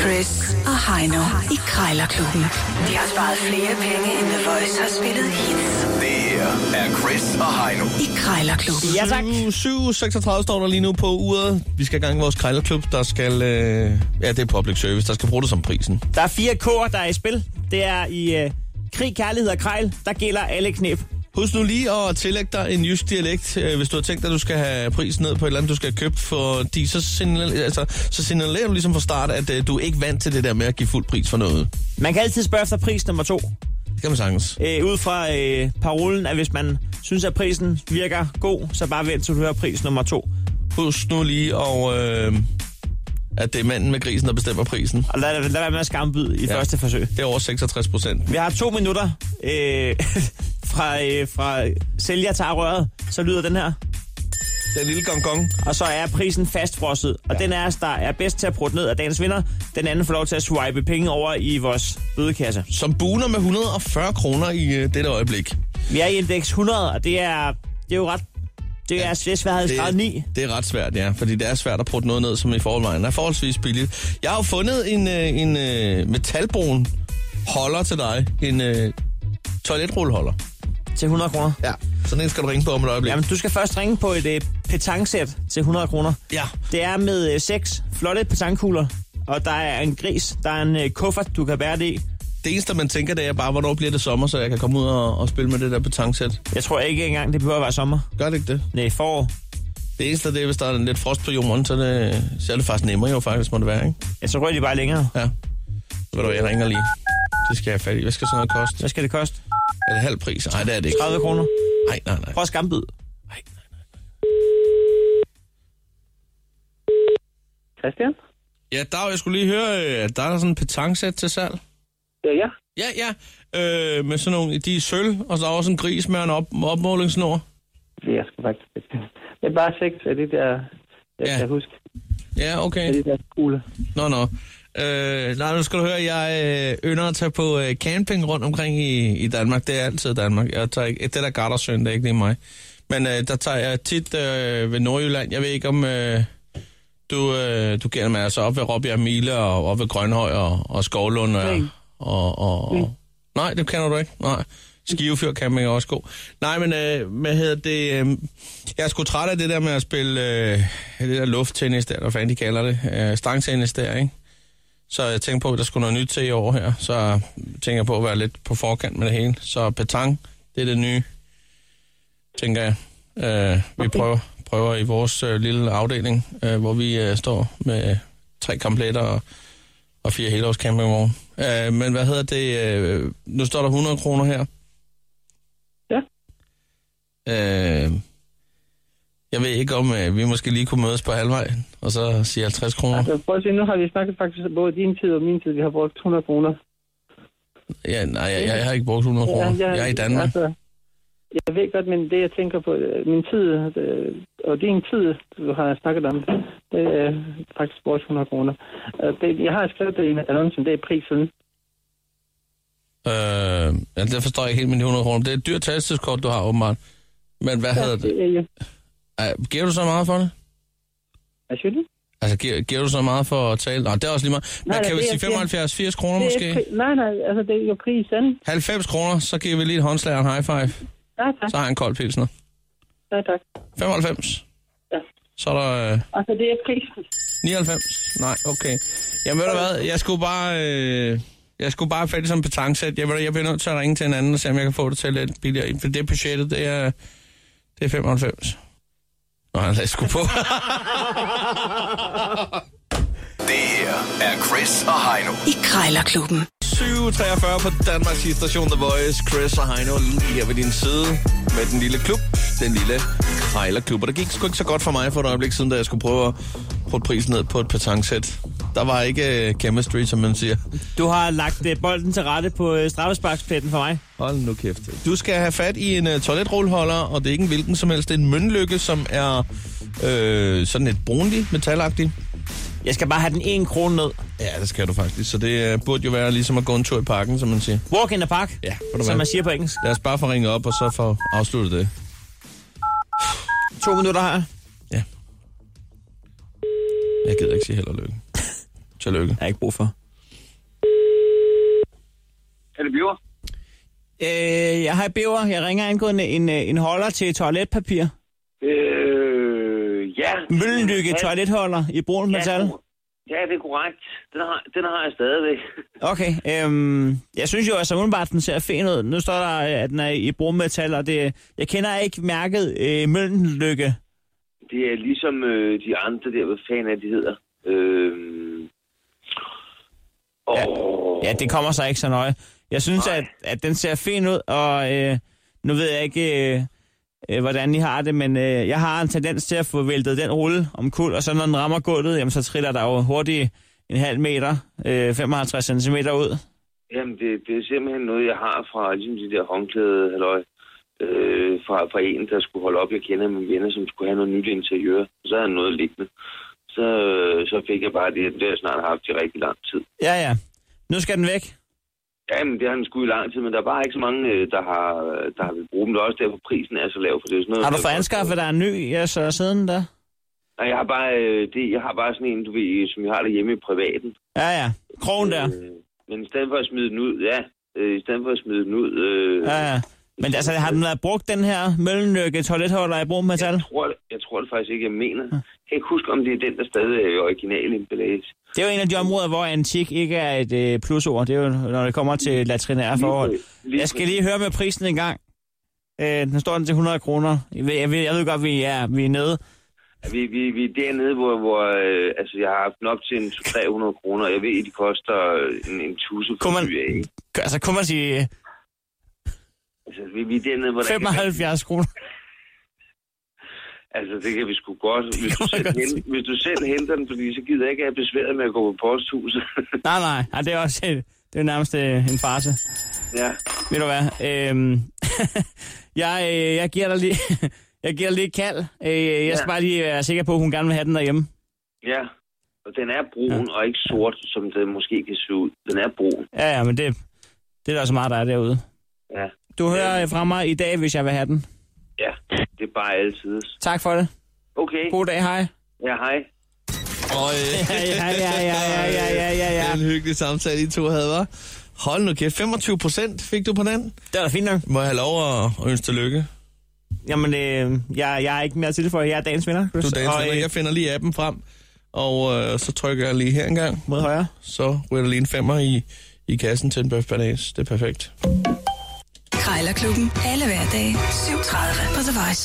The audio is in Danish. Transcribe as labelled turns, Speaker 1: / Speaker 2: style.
Speaker 1: Chris og Heino i Krejlerklubben. De har sparet flere penge, end The Voice har spillet hits
Speaker 2: Det her er Chris og Heino.
Speaker 1: i Krejlerklubben.
Speaker 3: Ja, tak.
Speaker 4: 7.36 står der lige nu på uret. Vi skal i gang i vores krejlerklub, der skal... Øh, ja, det er public service, der skal bruge det som prisen.
Speaker 3: Der er fire K'er, der er i spil. Det er i øh, krig, kærlighed og krejl. Der gælder alle knep.
Speaker 4: Husk nu lige at tillægge dig en jysk dialekt, øh, hvis du har tænkt dig, at du skal have prisen ned på et eller andet, du skal købe, fordi så, signal, altså, så signalerer du ligesom fra start, at øh, du er ikke vant til det der med at give fuld pris for noget.
Speaker 3: Man kan altid spørge efter pris nummer to.
Speaker 4: Det kan man sagtens.
Speaker 3: Øh, ud fra øh, parolen, at hvis man synes, at prisen virker god, så bare vent til du hører pris nummer to.
Speaker 4: Husk nu lige, og, øh, at det er manden med grisen, der bestemmer prisen.
Speaker 3: Og lad, lad være med at skambyde i ja.
Speaker 4: Ja.
Speaker 3: første forsøg.
Speaker 4: Det er over 66 procent.
Speaker 3: Vi har to minutter øh, fra, øh, fra sælger tager røret. Så lyder den her.
Speaker 4: Den lille gong gong.
Speaker 3: Og så er prisen fastfrosset. Og ja. den af os, der er bedst til at prutte ned af dagens vinder, den anden får lov til at swipe penge over i vores bødekasse.
Speaker 4: som buner med 140 kroner i øh, dette øjeblik.
Speaker 3: Vi er i indeks 100, og det er, det er jo ret... Det er ja, sværhedsgrad 9.
Speaker 4: det er ret svært, ja, fordi det er svært at putte noget ned, som i forvejen er forholdsvis billigt. Jeg har jo fundet en, øh, en øh, metalbrun holder til dig, en øh, toiletrulleholder.
Speaker 3: til 100 kroner.
Speaker 4: Ja. Sådan en skal du ringe på om et øjeblik.
Speaker 3: Jamen, du skal først ringe på et øh, petangsæt til 100 kroner.
Speaker 4: Ja,
Speaker 3: Det er med øh, seks flotte petangkugler, og der er en gris, der er en øh, kuffert, du kan bære det i.
Speaker 4: det eneste, man tænker, det er bare, hvornår bliver det sommer, så jeg kan komme ud og, og spille med det der betangsæt.
Speaker 3: Jeg tror ikke engang, det behøver at være sommer.
Speaker 4: Gør det ikke det?
Speaker 3: Nej, forår.
Speaker 4: Det eneste, det er, hvis der er lidt frost på jorden, så, er det, så er det faktisk nemmere jo faktisk, må det være, ikke?
Speaker 3: Ja, så rører de bare længere.
Speaker 4: Ja. Ved du, hvad, jeg ringer lige. Det skal jeg have fat i. Hvad skal sådan noget koste?
Speaker 3: Hvad skal det koste?
Speaker 4: Er det halv pris? Nej, det er det ikke.
Speaker 3: 30 kroner.
Speaker 4: Nej, nej, nej.
Speaker 3: Prøv at skambid.
Speaker 4: Nej, nej, nej.
Speaker 5: Christian?
Speaker 4: Ja, Dag, jeg skulle lige høre, øh, at der er sådan en petangsæt til salg.
Speaker 5: Ja, ja.
Speaker 4: Ja, ja, øh, med sådan nogle, de er i sølv, og så er også en gris med en op, opmålingsnor.
Speaker 5: Jeg skal faktisk... Det er bare seks af det der... Jeg
Speaker 4: Ja.
Speaker 5: ja. kan huske.
Speaker 4: Ja,
Speaker 5: Af
Speaker 4: okay.
Speaker 5: det der skole.
Speaker 4: Nå, nå. Øh, nej, nu skal du høre, jeg øh, ynder at tage på øh, camping rundt omkring i, i Danmark. Det er altid Danmark. Jeg tager ikke, det der Gardersøen, det er ikke lige mig. Men øh, der tager jeg tit øh, ved Nordjylland. Jeg ved ikke, om øh, du, øh, du kender mig. Altså op ved Råbjerg Mile og op ved Grønhøj og, og Skovlund. Og,
Speaker 5: Nej.
Speaker 4: og, og, og, nej, det kender du ikke. Nej. Skivefyr camping er også god. Nej, men øh, hvad hedder det? Øh, jeg er sgu træt af det der med at spille øh, det der lufttennis der, eller hvad fanden de kalder det. Øh, stangtennis der, ikke? Så jeg tænkte på, at der skulle noget nyt til i år her. Så tænker jeg på at være lidt på forkant med det hele. Så petang, det er det nye, tænker jeg. Øh, vi prøver, prøver i vores øh, lille afdeling, øh, hvor vi øh, står med tre kompletter og, og fire helårscampingvogne. Øh, men hvad hedder det? Øh, nu står der 100 kroner her.
Speaker 5: Ja.
Speaker 4: Øh, jeg ved ikke om, øh, vi måske lige kunne mødes på halvvej, og så sige 50 kroner.
Speaker 5: Altså, prøv at se, nu har vi snakket faktisk både din tid og min tid. Vi har brugt 100 kroner.
Speaker 4: Ja, nej, jeg, jeg har ikke brugt 100 kroner. jeg er i Danmark.
Speaker 5: Altså, jeg ved godt, men det jeg tænker på, øh, min tid øh, og din tid, du har snakket om, det er faktisk vores 100 kroner. Øh, det- Jeg har skrevet det i en annonce, det er prisen.
Speaker 4: Øh, ja, det forstår jeg ikke helt med de 100 kroner. Det er et dyrt tastiskort, du har åbenbart. Men hvad hedder det?
Speaker 5: Det er jo...
Speaker 4: Ej, giver du så meget for det?
Speaker 5: Hvad synes du?
Speaker 4: Altså, giver, giver du så meget for at tale? Nej, det er også lige meget. Men
Speaker 5: Nej,
Speaker 4: kan
Speaker 5: det
Speaker 4: vi
Speaker 5: er
Speaker 4: sige
Speaker 5: det, jeg
Speaker 4: 75-80 kroner
Speaker 5: Det er
Speaker 4: måske?
Speaker 5: pri- nej, nej, altså det er jo prisen.
Speaker 4: 90 kroner, så giver vi lige et håndslag og en high five.
Speaker 5: Nej, tak.
Speaker 4: Så har jeg en kold pilsner.
Speaker 5: Nej, tak.
Speaker 4: 95.
Speaker 5: Ja.
Speaker 4: Så er der øh,
Speaker 5: Altså det er prisen.
Speaker 4: 99. Nej, okay. Jamen, ved du hvad? Jeg skulle bare... Øh, jeg skulle bare have fat i sådan en betangsæt. Jeg, ved du, jeg bliver nødt til at ringe til en anden og se, om jeg kan få det til lidt billigere. For det budgettet, det er, det er 95. Nå, han lagde sgu på.
Speaker 2: Det her er Chris og Heino.
Speaker 1: I Krejlerklubben.
Speaker 4: 7.43 på Danmarks station The Voice. Chris og Heino lige her ved din side med den lille klub, den lille krejlerklub. Og det gik sgu ikke så godt for mig for et øjeblik siden, da jeg skulle prøve at putte prisen ned på et petangsæt. Der var ikke øh, chemistry, som man siger.
Speaker 3: Du har lagt øh, bolden til rette på øh, straffesparkspletten for mig.
Speaker 4: Hold nu kæft. Du skal have fat i en uh, toiletrulleholder, og det er ikke en hvilken som helst. Det er en mønlykke, som er øh, sådan et brunlig, metalagtig.
Speaker 3: Jeg skal bare have den ene krone ned.
Speaker 4: Ja, det skal du faktisk. Så det uh, burde jo være ligesom at gå en tur i parken, som man siger.
Speaker 3: Walk in the park,
Speaker 4: Ja, ved du
Speaker 3: som
Speaker 4: hvad?
Speaker 3: man siger på engelsk.
Speaker 4: Lad os bare få ringet op, og så få afsluttet det.
Speaker 3: To minutter her.
Speaker 4: Jeg gider ikke sige held og lykke. Tillykke.
Speaker 3: Jeg har ikke brug for.
Speaker 6: Er det bliver?
Speaker 3: Øh, jeg har bæver. Jeg ringer angående en, øh, en holder til toiletpapir.
Speaker 6: Øh, ja.
Speaker 3: Møllenlykke
Speaker 6: Ja,
Speaker 3: toiletholder i brun metal.
Speaker 6: Ja, ja, det er korrekt. Den har, den har jeg stadigvæk.
Speaker 3: Okay, øhm, jeg synes jo, at så udenbart den ser fin ud. Nu står der, øh, at den er i brummetal, og det, jeg kender ikke mærket øh, Møllenlykke.
Speaker 6: Det er ligesom øh, de andre der, hvad fanden er de hedder. Øh, og,
Speaker 3: Ja. Ja, det kommer så ikke så nøje. Jeg synes, at, at den ser fin ud, og øh, nu ved jeg ikke, øh, øh, hvordan I har det, men øh, jeg har en tendens til at få væltet den rulle om kul, og så når den rammer gulvet, jamen, så triller der jo hurtigt en halv meter, øh, 55 cm ud.
Speaker 6: Jamen, det, det er simpelthen noget, jeg har fra ligesom de der håndklæde, halløj, øh, fra, fra en, der skulle holde op. Jeg kender mine venner, som skulle have noget nyt interiør. Så havde han noget liggende. Så, øh, så fik jeg bare det, det har jeg snart haft i rigtig lang tid.
Speaker 3: Ja, ja. Nu skal den væk.
Speaker 6: Jamen, det har han sgu i lang tid, men der er bare ikke så mange, øh, der har, der har vil bruge dem. Det er også derfor, prisen er så lav, for det er sådan noget...
Speaker 3: Har du fået anskaffet dig en ny, ja, så siden da?
Speaker 6: Nej, jeg har bare, øh, det, jeg har bare sådan en, du ved, øh, som jeg har derhjemme i privaten.
Speaker 3: Ja, ja. Krogen der.
Speaker 6: Øh, men i stedet for at smide den ud, ja, øh, i stedet for at smide den ud... Øh,
Speaker 3: Ja, ja. Men altså, har den været brugt, den her møllenlykke toiletholder i brummetal?
Speaker 6: Jeg tror, det- jeg tror det faktisk ikke, jeg mener. Jeg kan ikke huske, om det er den, der stadig er i original emballage.
Speaker 3: Det er jo en af de områder, hvor antik ikke er et øh, plusord. Det er jo, når det kommer til latrinære forhold.
Speaker 6: lige
Speaker 3: Jeg skal lige høre med prisen en gang. Øh, den står den til 100 kroner. Jeg ved, jeg ved, jeg ved godt, vi er, vi er nede.
Speaker 6: Vi, vi, vi er dernede, hvor, hvor øh, altså, jeg har haft den op til en 300 kroner. Jeg ved, de koster øh, en, en tusse for
Speaker 3: Kunne man-
Speaker 6: dyr, ikke?
Speaker 3: Altså, kunne man sige øh,
Speaker 6: Altså, vi, vi er dernede, hvor der ikke er-
Speaker 3: 75 kroner?
Speaker 6: Altså, det kan vi sgu godt. Hvis du,
Speaker 3: kan man
Speaker 6: selv
Speaker 3: godt
Speaker 6: henter, hvis du selv henter den, fordi så gider jeg ikke have besværet med at gå på posthuset.
Speaker 3: Nej, nej. Ej, det er også et, det er nærmest øh, en farse.
Speaker 6: ja.
Speaker 3: Ved du hvad? Øhm, jeg, øh, jeg giver dig lige... Jeg giver dig lige et kald. Øh, jeg skal
Speaker 6: Ja.
Speaker 3: bare lige være sikker på, at hun gerne vil have den derhjemme.
Speaker 6: ja. Og den er brun ja. og ikke sort, som den måske kan se ud. Den er brun.
Speaker 3: Ja, ja, men det, det er der også meget, der er derude.
Speaker 6: Ja.
Speaker 3: Du hører øh, fra mig i dag, hvis jeg vil have den.
Speaker 6: Ja, det er bare altid.
Speaker 3: Tak for det.
Speaker 6: Okay.
Speaker 3: God dag, hej.
Speaker 6: Ja, hej.
Speaker 4: Og, øh,
Speaker 3: Ja, ja, ja, ja, ja, ja, ja,
Speaker 4: Det er
Speaker 3: ja.
Speaker 4: en hyggelig samtale, I to havde, var. Hold nu kæft, 25 procent fik du på den.
Speaker 3: Det var da fint nok.
Speaker 4: Må jeg have lov at ønske tillykke?
Speaker 3: Jamen, øh, jeg, jeg er ikke mere til for, jeg er dagens vinder. Chris.
Speaker 4: Du dagens
Speaker 3: Og,
Speaker 4: vinder.
Speaker 3: øh,
Speaker 4: Jeg finder lige appen frem, og øh, så trykker jeg lige her en gang.
Speaker 3: mod højre.
Speaker 4: Så ryger der lige en femmer i, i kassen til en bøf banæs. Det er perfekt.
Speaker 1: Krejlerklubben. Alle hverdage. 7.30 på The Voice.